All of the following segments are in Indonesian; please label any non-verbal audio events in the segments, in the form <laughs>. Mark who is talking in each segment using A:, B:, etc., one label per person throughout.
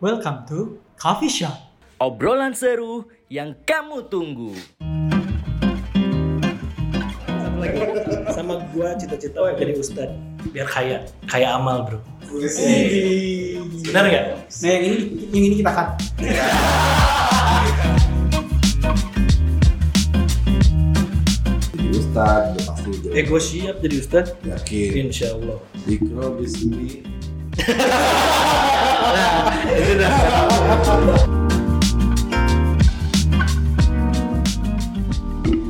A: Welcome to Coffee Shop.
B: Obrolan seru yang kamu tunggu.
A: Sama lagi sama gua cita-cita jadi ustad biar kaya, kaya amal, Bro. Benar nggak?
C: Nah yang ini yang ini kita cut.
D: jadi ustad udah pasti jadi
A: Eh, gua siap jadi ustad.
D: yakin
A: Insya Allah.
D: ikro bismi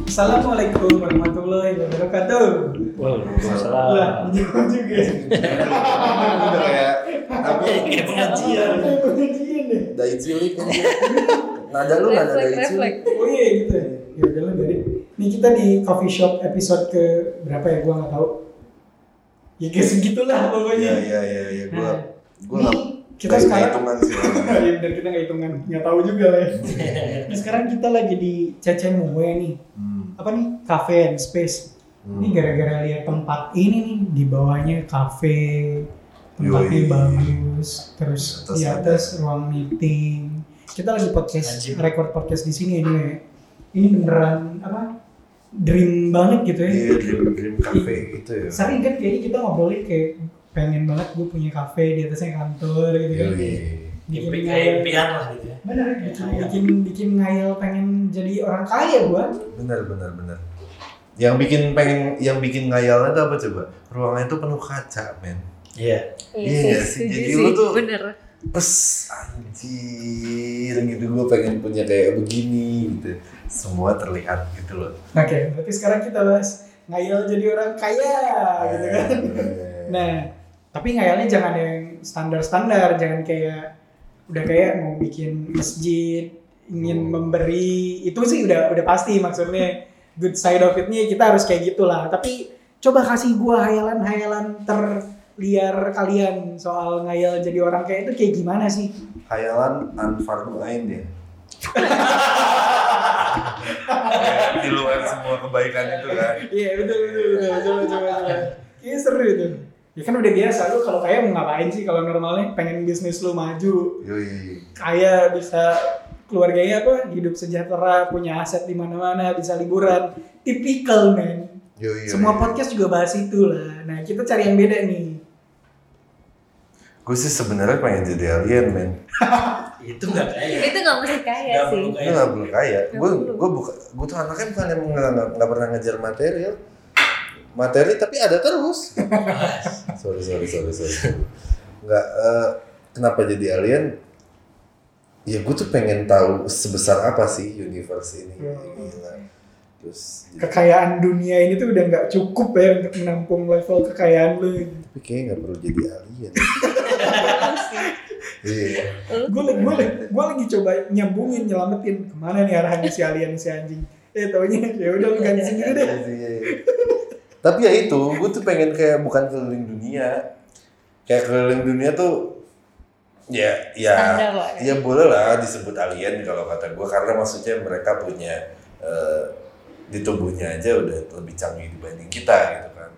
C: Assalamualaikum warahmatullahi wabarakatuh. Wah,
A: Waalaikumsalam.
C: menyebut juga.
D: udah kayak apa
A: Kayak pengajian.
C: Pengajian deh.
D: dari Iya, cilik kan nada lu nada dari cilik
C: Oh iya gitu ya. Ya udahlah jadi. Nih kita di coffee shop episode ke berapa ya gua nggak tahu. Ya kayak segitulah
D: iya
C: pokoknya.
D: iya iya iya gua
C: Nah,
D: gua
C: ini
D: nggak
C: kita
D: nggak
C: sekarang
D: hitungan sih
C: Iya benar kita nggak hitungan, nggak tahu juga lah. ya. Nah, sekarang kita lagi di Cece Mue nih.
D: Hmm,
C: Apa nih? Cafe and Space.
D: hmm.
C: Ini gara-gara lihat tempat ini nih di bawahnya kafe, tempatnya
D: Yoi.
C: bagus, terus
D: Atas
C: di
D: ada.
C: atas ruang meeting. Kita lagi podcast,
A: Anjing.
C: record podcast di sini ini. ya. Ini beneran apa? Dream banget gitu ya.
D: iya dream dream cafe gitu ya
C: Sering kan kayaknya kita ngobrolin kayak pengen banget gue punya kafe di atasnya kantor gitu kan.
D: Yoi.
A: Kayak
C: Bikin ngayal-
A: impian lah gitu ya.
C: Bener, bikin,
A: Kayak.
C: bikin, bikin ngayal pengen jadi orang kaya gue.
D: benar benar benar yang bikin pengen yang bikin ngayalnya tuh apa coba ruangannya tuh penuh kaca men
A: Iya.
D: Iya sih,
E: setuju
D: jadi
E: sih.
D: lu tuh-
E: bener.
D: Terus anjir gitu gue pengen punya kayak begini gitu semua terlihat gitu loh
C: Oke, berarti sekarang kita bahas ngayal jadi orang kaya gitu kan.
D: Iya. Eh,
C: Nah, tapi ngayalnya jangan yang standar-standar, jangan kayak udah kayak mau bikin masjid, ingin memberi, itu sih udah udah pasti maksudnya good side of it-nya kita harus kayak gitulah. Tapi coba kasih gua hayalan-hayalan terliar kalian soal ngayal jadi orang kayak itu kayak gimana sih?
D: khayalan anfardu ain ya Kayak di luar semua kebaikan itu kan
C: Iya, betul betul betul. Coba coba coba. Kayaknya seru itu. Ya kan udah biasa lu kalau kayak mau ngapain sih kalau normalnya pengen bisnis lu maju,
D: yoi
C: kaya bisa keluarganya apa hidup sejahtera punya aset di mana-mana bisa liburan tipikal men
D: yoi
C: semua podcast juga bahas itu lah nah kita cari yang beda nih
D: gue sih sebenarnya pengen jadi alien men
A: Itu nggak kaya.
E: Itu gak mesti kaya
A: Nggak
E: Iya sih.
A: perlu
D: gue
A: kaya.
D: Iya, nggak perlu kaya
E: Iya. Nggak
D: gue
E: perlu.
D: gue buka gue tuh anaknya bukan yang nggak nggak- nggak pernah ngejar material materi tapi ada
E: <laughs>
D: terus sorry sorry sorry sorry nggak eh, kenapa jadi alien ya gue tuh pengen tahu sebesar apa sih universe ini
E: Iya.
C: Hmm.
D: Gila. terus jadi-
C: kekayaan dunia ini tuh udah nggak cukup ya untuk menampung level kekayaan lu
D: tapi kayaknya nggak perlu jadi
E: <laughs>
D: alien iya
C: gue lagi gue lagi gue lagi coba nyambungin nyelamatin kemana nih arahannya si alien si anjing eh taunya ya udah lu ganti sendiri deh
D: Iya, iya. Tapi ya itu, gue tuh pengen kayak bukan keliling dunia. Kayak keliling dunia tuh ya ya
E: Standar lah ya.
D: ya boleh lah disebut alien kalau kata gue karena maksudnya mereka punya eh, di tubuhnya aja udah lebih canggih dibanding kita gitu kan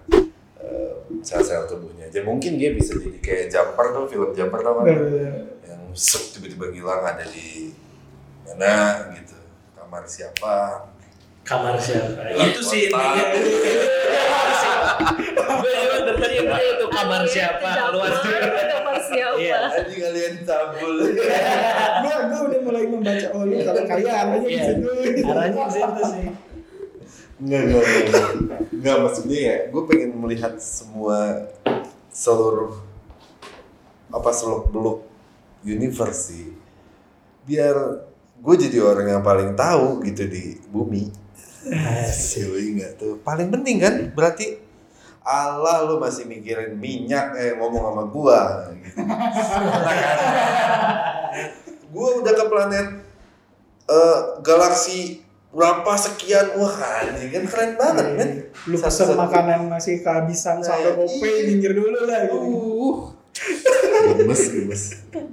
D: Eh, sel-sel tubuhnya aja mungkin dia bisa jadi kayak jumper tuh film jumper tau kan yang sup tiba-tiba hilang ada di mana gitu kamar siapa
A: Kamar siapa? Itu sih intinya. Gue juga dari tadi ya, yang nanya tuh kamar
E: Iya,
A: siapa, luar siapa.
E: Kamar
A: Iya.
E: siapa?
D: Anjing kalian cabul.
C: gue gue Iya, udah mulai membaca oh lu kalau kaya arahnya
A: Iya.
C: ke situ
A: Arahnya ke situ sih.
D: Enggak, enggak, enggak. Enggak maksudnya ya, gue pengen melihat semua seluruh apa seluk beluk universe sih. Biar gue jadi orang yang paling tahu gitu di bumi. Asli enggak tuh. Paling penting kan berarti Allah lu masih mikirin minyak eh ngomong sama gua <laughs> gitu. gua udah ke planet eh, galaksi berapa sekian wah anjing kan keren banget kan.
C: lu pesen
D: Satu-satu.
C: makanan masih kehabisan
D: Nah,
C: saldo gopay
D: iya.
C: minggir dulu lah gitu
D: Uh. Gemes, gemes.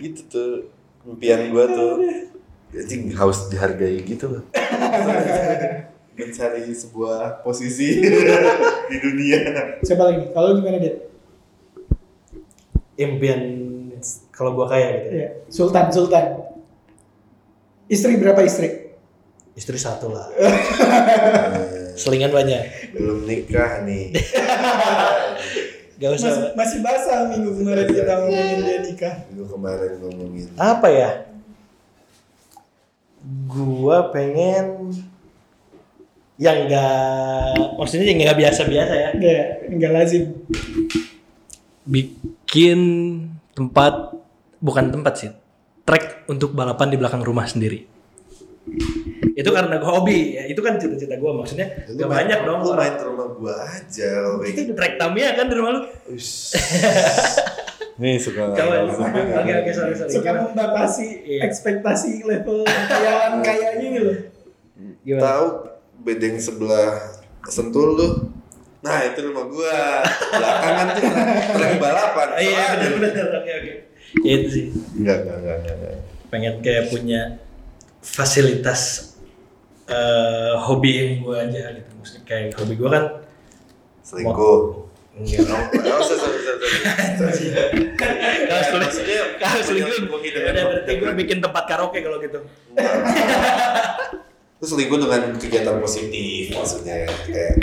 D: Gitu tuh impian gua tuh. Anjing harus dihargai gitu loh. <laughs> Mencari sebuah posisi <laughs> di dunia.
C: coba lagi kalau gimana dia
A: impian kalau gua kaya gitu.
C: Iya. Sultan, Sultan. Istri berapa istri?
A: Istri satu lah. Selingan banyak.
D: belum nikah nih
A: Gak
C: Masih,
A: usah.
C: masih basah minggu kemarin kita ngomongin dia nikah.
D: lu kemarin ngomongin
A: Apa ya? Gua pengen yang enggak maksudnya yang enggak biasa-biasa ya.
C: Iya, enggak lazim.
A: Bikin tempat bukan tempat sih. Track untuk balapan di belakang rumah sendiri. Itu karena gue hobi, ya. itu kan cita-cita gue maksudnya.
D: Lu
A: Gak
D: main-
A: banyak dong
D: lu
A: orang.
D: main ke rumah gua aja kalau kayak gitu.
A: Itu track Tamiya kan di rumah lu? <laughs>
D: Ush. nih suka
A: Coba,
D: iya.
A: oke oke sorry sorry.
C: Suka
A: Gimana?
C: membatasi
A: Iya.
C: ekspektasi level kekayaan kayaknya ini loh.
A: Gimana?
D: tahu bedeng sebelah sentul lu nah itu rumah gua belakangan tuh lagi balapan
A: Ah, Iya
D: Soalnya-
A: benar benar oke oke. Ya, Itu sih
D: enggak enggak enggak enggak, enggak
A: pengen kayak punya fasilitas eh, hobi yang gue aja gitu. Maksudnya kayak hobi gue kan
D: selingkuh
A: enggak <laughs>
D: Oh, nggak usah, sorry, sorry, sorry.
A: Kalau
D: Maksudnya,
A: selingkuh, kalau selingkuh,
D: menyelingkuhi dengan-
A: Ya udah berarti gue bikin tempat karaoke kalau gitu.
D: Terus selingkuh dengan kegiatan positif maksudnya kayak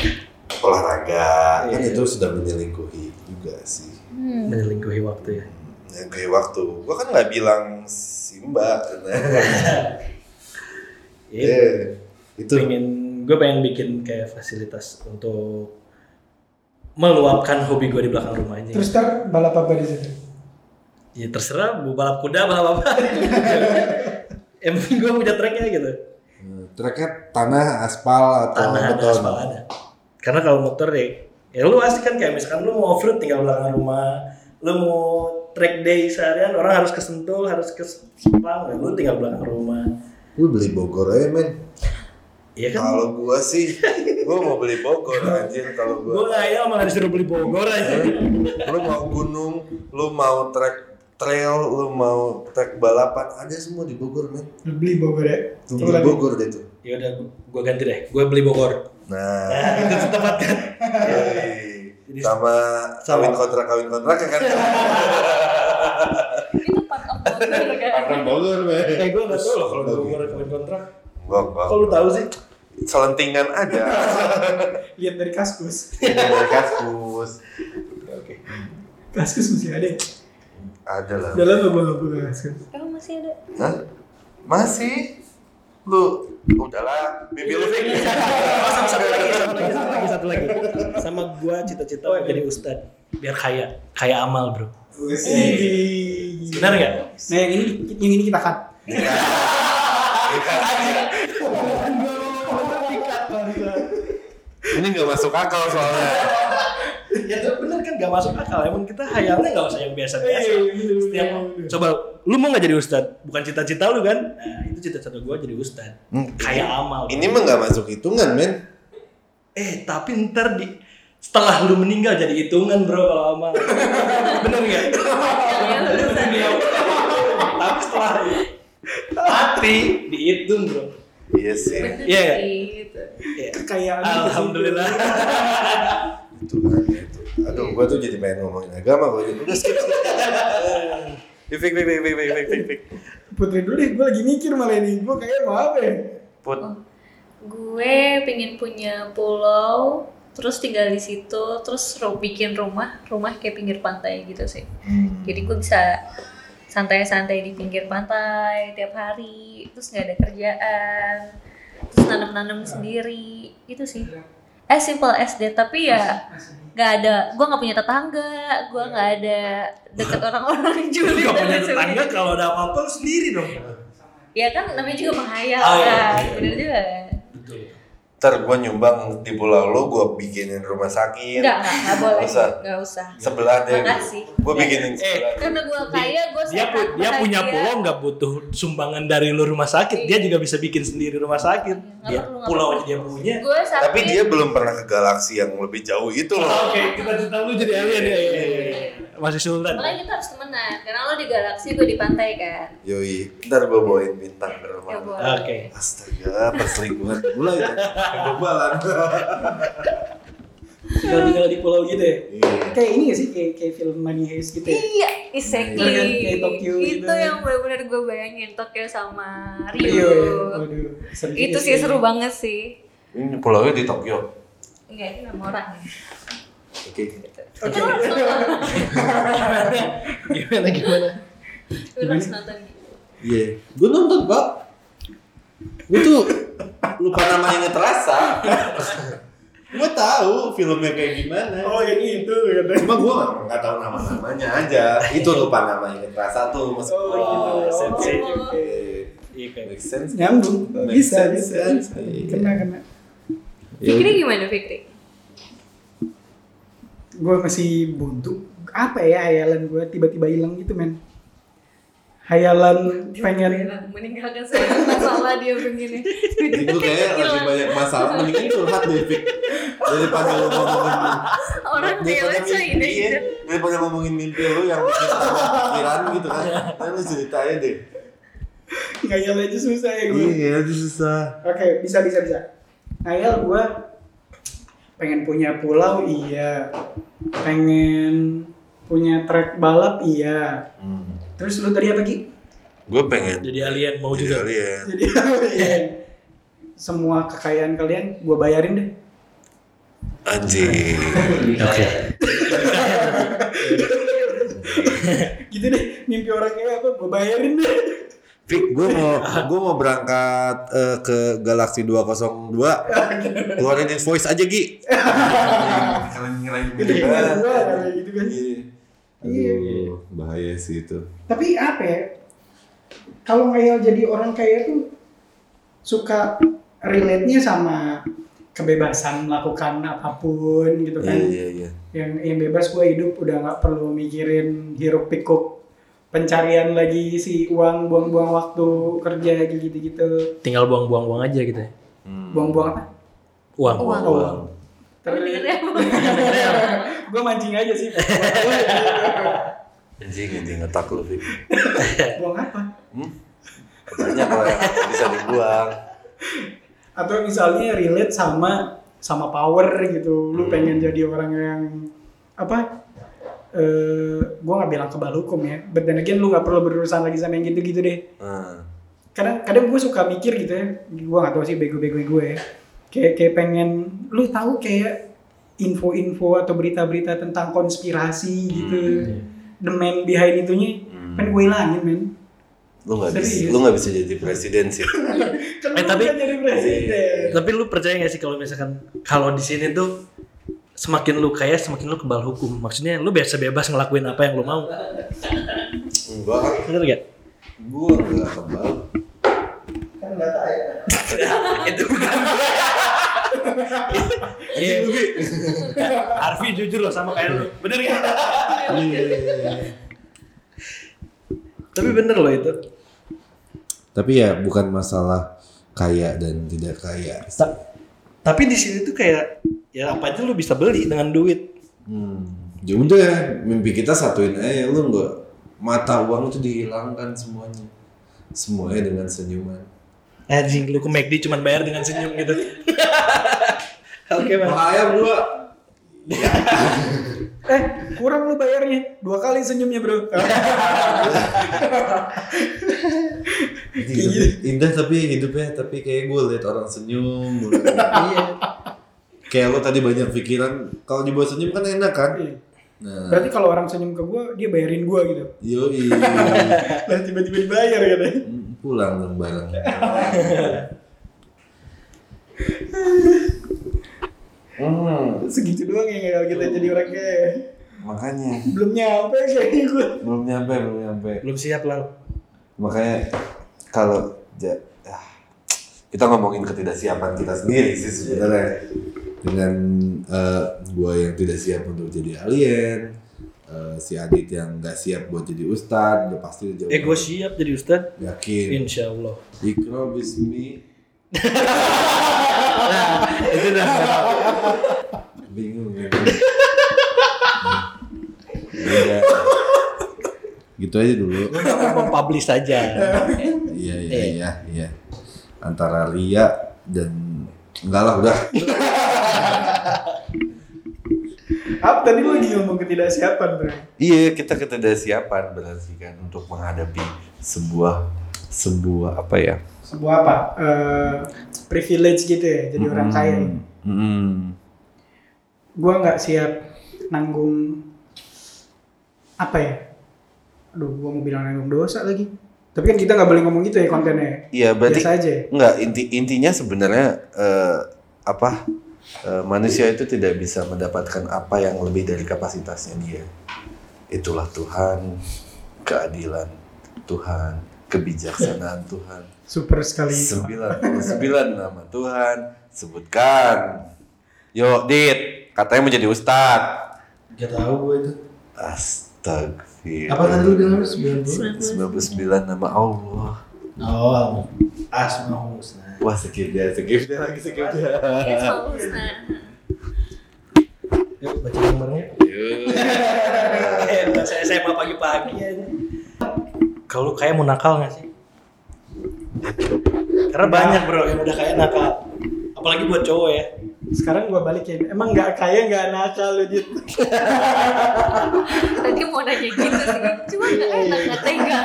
D: olahraga kan
A: Iya.
D: itu sudah menyelingkuhi juga sih
A: Menyelingkuhi waktu ya.
D: menyelingkuhi waktu gua kan nggak bilang simba
A: Iya.
D: itu
A: Pengen gue pengen bikin kayak fasilitas untuk meluapkan hobi gue di belakang rumah aja.
C: Terus ter balap apa di situ?
A: ya terserah mau balap kuda balap apa yang penting gue punya tracknya gitu
D: treknya tanah aspal atau
A: tanah ada
D: beton
A: aspal ada karena kalau motor ya ya lu pasti kan kayak misalkan lu mau off road tinggal belakang rumah lu mau track day seharian orang harus ke Sentul harus ke Sepang lu tinggal belakang rumah
D: lu beli Bogor aja men
A: iya kan
D: kalau gua sih gua mau beli Bogor anjir kalau
A: gue
D: gua
A: ngayal ya, malah disuruh beli Bogor aja
D: lu mau gunung lu mau trek trail lu mau trek balapan ada semua di Bogor men
C: Lu beli Bogor ya?
D: Lu beli
C: Ulang.
D: Bogor deh tuh
A: ya udah gue ganti deh gue beli Bogor
D: nah
A: nah itu tempat kan
D: Yoi. sama kawin kontrak kawin kontrak ya kan
E: Itu part of Bogor kan.
D: Bogor men
A: eh gue nggak tahu loh kalau di Bogor kawin kontrak
D: Bogor
A: kok lu tahu sih
D: selentingan aja
C: Lihat dari kaskus.
D: dari kaskus
A: oke
C: Kaskus masih ada. ya?
D: ada lah
C: Udah lama gua nggak buka kaskus.
E: Kamu masih ada.
D: Hah? masih lu udahlah bibi lu
A: Oh, sama satu lagi, satu lagi, satu lagi, satu lagi. Sama gua cita-cita pengen jadi ustad biar kaya, kaya amal, Bro. Benar enggak?
C: Nah yang ini yang ini kita cut.
D: ini nggak masuk akal soalnya
A: Ya itu benar kan enggak masuk akal. Emang kita hayalnya enggak usah yang biasa-biasa. Setiap coba lu mau enggak jadi ustad? Bukan cita-cita lu kan? Nah, itu cita-cita gua jadi ustad.
D: Hmm.
A: Kaya amal. Bro.
D: ini mah nggak masuk hitungan men
A: eh tapi ntar di setelah lu meninggal jadi hitungan, Bro, kalau <laughs> amal. benar enggak?
E: Kalian lulusan.
A: tapi setelah mati dihitung, Bro.
D: iya sih
E: Bener
A: Iya, iya.
E: sih, gitu.
A: Iya.
C: Kekayaan di situ.
A: Alhamdulillah.
D: itu kan itu aduh gua tuh jadi pengen ngomongin agama gua jadi udah skip skip Fik, fik, fik, fik, fik, fik, fik.
C: Putri dulu deh, gue lagi mikir malah ini. Gue kayak mau apa ya?
D: Put,
E: Gue pengen punya pulau, terus tinggal di situ, terus ru- bikin rumah, rumah kayak pinggir pantai gitu sih.
A: Hmm.
E: Jadi gue bisa santai-santai di pinggir pantai tiap hari, terus nggak ada kerjaan, terus nanam-nanam
A: Iya.
E: sendiri, gitu sih. As simple as that, tapi ya nggak ada, gue nggak punya tetangga, gue nggak ada deket orang-orang
A: Lu gak
E: julid dan
A: punya
E: lain
A: tetangga
E: <laughs> sebagainya.
A: kalau ada apa-apa lu sendiri dong.
E: Ya kan namanya juga menghayal
A: Ah, iya,
E: kan,
A: iya.
E: bener juga.
A: Betul.
D: ntar gua nyumbang di pulau lo, gua bikinin rumah sakit.
E: Enggak, enggak, enggak boleh.
D: Usah.
E: Enggak usah.
D: Sebelah deh.
E: Makasih.
D: Gua bikinin
A: Eh,
D: sebelah.
E: Karena gue kaya, gue
A: Dia
E: sehat,
A: pu- dia
E: bahagia.
A: punya pulau nggak butuh sumbangan dari lu rumah sakit. Dia juga bisa bikin sendiri rumah sakit.
E: Iya, Nggak
A: Dia
E: perlu, nggak
A: pulau
E: perlu.
A: aja dia punya.
E: Gue sakit.
D: Tapi dia belum pernah ke galaksi yang lebih jauh itu loh.
A: Oke, kita cerita lu jadi alien ya. iya, iya, iya. Masih sultan.
E: Makanya kita harus temenan. Karena lo di galaksi, gue di pantai kan.
D: Yoi, ntar gua bawain bintang ke
E: Ya
D: rumah.
E: boleh.
A: Oke.
D: Astaga, perselingkuhan mulai ya. Kebobalan.
C: tinggal-tinggal di pulau gitu ya
D: Iya.
C: kayak ini gak sih kayak kayak film Money Heist gitu ya
E: Iya, exactly.
C: Iya kan, kayak Tokyo
E: itu
C: gitu.
E: yang benar-benar gue bayangin Tokyo sama Rio.
C: Iya, ya. waduh seru
E: Itu
C: juga ya.
E: sih seru banget sih.
D: Ini pulaunya di Tokyo.
E: Enggak, ini nama orang.
D: Oke.
E: Gitu.
C: Oke.
E: Kita harus nonton.
A: gimana gimana
E: Kita harus nonton.
D: Iya. Gue nonton pak. Gue tuh lupa nama yang terasa. gue tahu filmnya kayak gimana.
A: oh yang itu kata
D: Cuma gue nggak nggak tahu nama namanya aja. Itu lupa nama yang terasa tuh maksud
C: oh
D: gua.
C: gitu
A: Oh,
C: oke
A: sensi.
C: oke, oke.
D: Iya.
A: iya kayak
D: Make sense.
C: nyambung
D: Make
C: bisa
D: sense, Iya.
C: bisa
D: sense.
C: kena kena
A: Ya
E: Fikri gimana Fikri?
C: gue masih buntu apa ya hayalan gue tiba-tiba hilang gitu men hayalan pengen
E: meninggalkan segala masalah dia begini.
D: Jadi gue kayak lagi banyak masalah. Mendingan curhat deh, Fik. Daripada lu ngomongin
E: <laughs> Orang
D: daripada
E: dewa coy
A: ya.
E: ini.
D: iya, daripada ngomongin mimpi lu yang bikin tambah pikiran gitu kan. Kan lu ceritain deh.
C: ngayal aja susah ya gue
D: Iya, itu susah.
C: oke bisa bisa bisa ngayal gue pengen punya pulau iya pengen punya track balap iya terus lu tadi apa Ki?
D: Gue pengen
A: jadi alien mau
D: jadi
A: juga
D: alien.
C: jadi iya. semua kekayaan kalian gue bayarin deh
D: Anjing.
A: oke
C: gitu deh mimpi orang kayak apa gue bayarin deh
D: Fik, gue mau gue mau berangkat eh, ke Galaxy 202. Keluarin invoice aja, Gi. Kalian ngelain
C: gitu kan gue gitu kan Iya.
D: Aduh, bahaya sih itu.
C: tapi apa ya kalau ngayal jadi orang kaya tuh suka relate nya sama kebebasan melakukan apapun gitu
D: Iya,
C: kan
D: iya, iya.
C: yang yang bebas gue hidup udah nggak perlu mikirin hiruk pikuk pencarian lagi si uang buang-buang waktu kerja gitu-gitu
A: tinggal buang-buang uang aja gitu ya
D: Hmm.
C: buang-buang apa Oh,
A: uang
E: Uang.
C: uang <laughs>
E: Bener
A: <laughs>
E: ya, Bu?
C: gue mancing aja sih
D: Anjing, anjing ngetak lu, Fik.
C: buang apa
D: Hmm? Banyak lah yang bisa dibuang.
C: atau misalnya relate sama sama power gitu lu
D: Hmm.
C: pengen jadi orang yang apa eh gue nggak bilang kebal hukum ya but then again lu nggak perlu berurusan lagi sama yang gitu-gitu deh
D: Nah,
C: kadang kadang gue suka mikir gitu ya gue nggak tahu sih bego-bego gue ya kayak kayak pengen lu tahu kayak info-info atau berita-berita tentang konspirasi gitu
A: Hmm, iya.
C: the man behind itunya
D: Hmm.
C: kan gue hilangin men
D: lu nggak bisa,
C: Serius?
D: lu nggak bisa jadi presiden sih.
C: kan
A: Eh,
C: lu
A: tapi-
C: kan jadi presiden
A: tapi lu percaya gak sih kalau misalkan kalau di sini tuh semakin lu kaya semakin lu kebal hukum maksudnya lu biasa bebas ngelakuin apa yang lu mau
D: Enggak,
A: bener gak
D: gua nggak kebal.
C: kan nggak tahu
D: <laughs>
C: ya
A: itu bukan
C: <laughs>
A: Iya, Arfi jujur loh sama kayak lu. Bener gak? Iya. Tapi bener loh itu.
D: Tapi ya bukan masalah kaya dan tidak kaya.
A: Ta- tapi di sini tuh kayak ya apa aja lu bisa beli dengan duit.
D: Hmm. Ya udah, mimpi kita satuin aja. Lu nggak mata uang itu dihilangkan semuanya. Semuanya dengan senyuman.
A: Eh, Anjing lu ke McD cuman bayar dengan senyum gitu. <laughs> Oke, Bang.
D: Bahaya gua.
C: Eh, kurang lu bayarnya. Dua kali senyumnya, Bro.
D: Hidup- Iya, Indah tapi hidupnya tapi kayak gue lihat orang senyum. mulu. kayak lo tadi banyak pikiran. Kalau dibuat senyum kan enak kan? Nah,
C: Berarti kalau orang senyum ke gua, dia bayarin gua gitu.
D: yoi
C: Lah tiba-tiba dibayar gitu. katanya.
D: pulang dong bareng. Hmm,
C: Segitu doang yang ngayal kita jadi orang kaya.
D: makanya
C: Belum nyampe kayaknya gua.
D: belum nyampe belum nyampe.
A: Belum siap lah.
D: Makanya kalau ja- ah, kita ngomongin ketidaksiapan kita sendiri sih sebenarnya dengan eh, gua yang tidak siap untuk jadi alien, eh, si Adit yang nggak siap buat jadi ustadz, udah pasti udah jauh.
A: Eh, gue siap jadi ustad.
D: Yakin.
A: Insya Allah.
D: Ikro bismi.
A: Itu dah.
D: Bingung. ya. Iya. Gitu aja dulu.
A: Mau publish saja.
D: Iya iya iya iya. Antara Lia dan enggak lah udah.
C: Apa tadi lu lagi ngomong ketidaksiapan bro?
D: Iya, kita ketidaksiapan berarti kan untuk menghadapi sebuah sebuah apa ya?
C: Sebuah apa? Eh, privilege gitu ya, jadi orang
D: Hmm.
C: kaya.
D: Mm.
C: Gua nggak siap nanggung apa ya? Aduh, gua mau bilang nanggung dosa lagi. Tapi kan kita nggak boleh ngomong gitu ya kontennya.
D: Iya, berarti
C: Biasa aja. ya.
D: Enggak, inti intinya sebenarnya eh, apa eh, manusia itu tidak bisa mendapatkan apa yang lebih dari kapasitasnya dia. Itulah Tuhan, keadilan Tuhan, kebijaksanaan Tuhan.
C: Super sekali.
A: Iya.
D: 99 nama Tuhan, sebutkan. Yo, Dit, katanya mau jadi ustad.
A: Gak tau gue itu.
D: Astagfirullah.
A: Apa tadi lu bilang 90?
D: 99 nama Allah.
A: Oh, Asmaul Husna.
D: Wah, skip dia, skip dia lagi, skip dia.
E: Ya, selalu sana.
A: Yuk baca nomornya. <laughs> Eh, saya saya mau pagi-pagi ya. Kalau lu kaya mau nakal nggak sih? Karena banyak bro yang udah kaya nakal. Apalagi buat cowok ya.
C: Sekarang gua balikin. Emang nggak kaya nggak nakal lu gitu.
E: Tadi mau nanya gitu sih, cuma nggak enak nggak tega.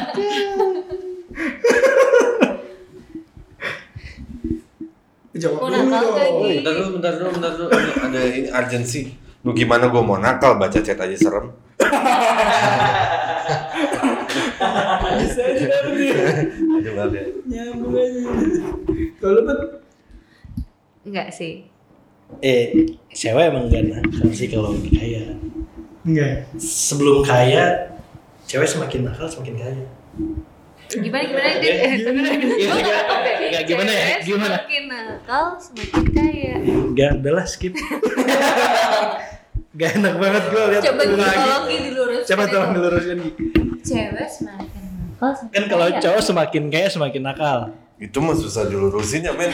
A: Iya,
C: Jawab
E: Mau
A: Iya,
C: dulu
E: nakal nggak
C: dong.
E: Gi?
D: Bentar dulu, bentar dulu, bentar dulu. Ada, ada ini urgency. Lu gimana gua mau nakal baca chat aja serem.
C: Bisa aja dapet ya.
D: Aduh, maaf ya.
C: Nyambung aja. Kalau lu Bet,
E: Nggak sih.
A: Eh, cewek emang gak nakal sih kalau udah kaya.
C: Enggak. ya?
A: Sebelum kaya, cewek semakin nakal semakin kaya.
E: Gimana gimana dia?
A: Gimana?
E: Gua nggak tahu deh.
A: Iya, Nggak, gimana ya?
E: Cewek
A: Gimana?
E: Semakin nakal semakin kaya.
A: Enggak, udahlah skip. gak enak banget gue lihat
E: Coba
A: lu lagi.
E: tolong Gi, dilurusin. Iya.
C: Coba tolong diluruskan Gi.
E: Cewek semakin nakal semakin
A: Kan kalau
E: kaya.
A: cowok semakin kaya semakin nakal.
D: Itu mah susah dilurusin ya, men.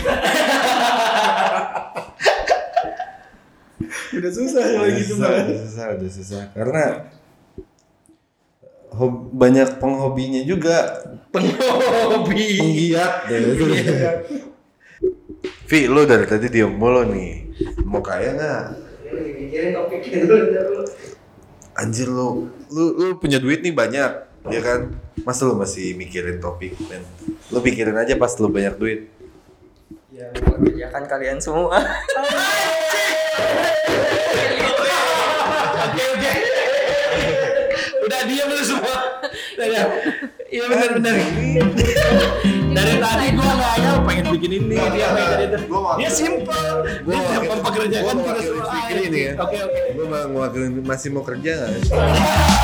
C: Udah susah
A: ya.
C: kalau gitu
D: Iya, Susah,
C: malah.
D: udah susah, udah susah. Karena eh, hob- banyak penghobinya juga
A: Penghobi.
D: <laughs> penggiat Vi, lu dari tadi diem mulu nih mau kaya nggak anjir lu, lu lu punya duit nih banyak ya kan masa lu masih mikirin topik men lu pikirin aja pas lu banyak duit
F: Ya, memperkerjakan kalian semua.
A: Oke oke. Udah diam lu semua. Udah, udah. Iya benar-benar. Dari tadi gua nanya "Oh, pengen bikin ini, dia pengen jadi itu.
D: Gua
A: Dia simple.
D: Gua
A: Dia
D: wakil-
A: mempekerjakan
D: gua
A: kita
D: wakil
A: semua.
D: Fikri nih ya.
A: Oke oke.
D: gue mau ngewakilin masih mau kerja nggak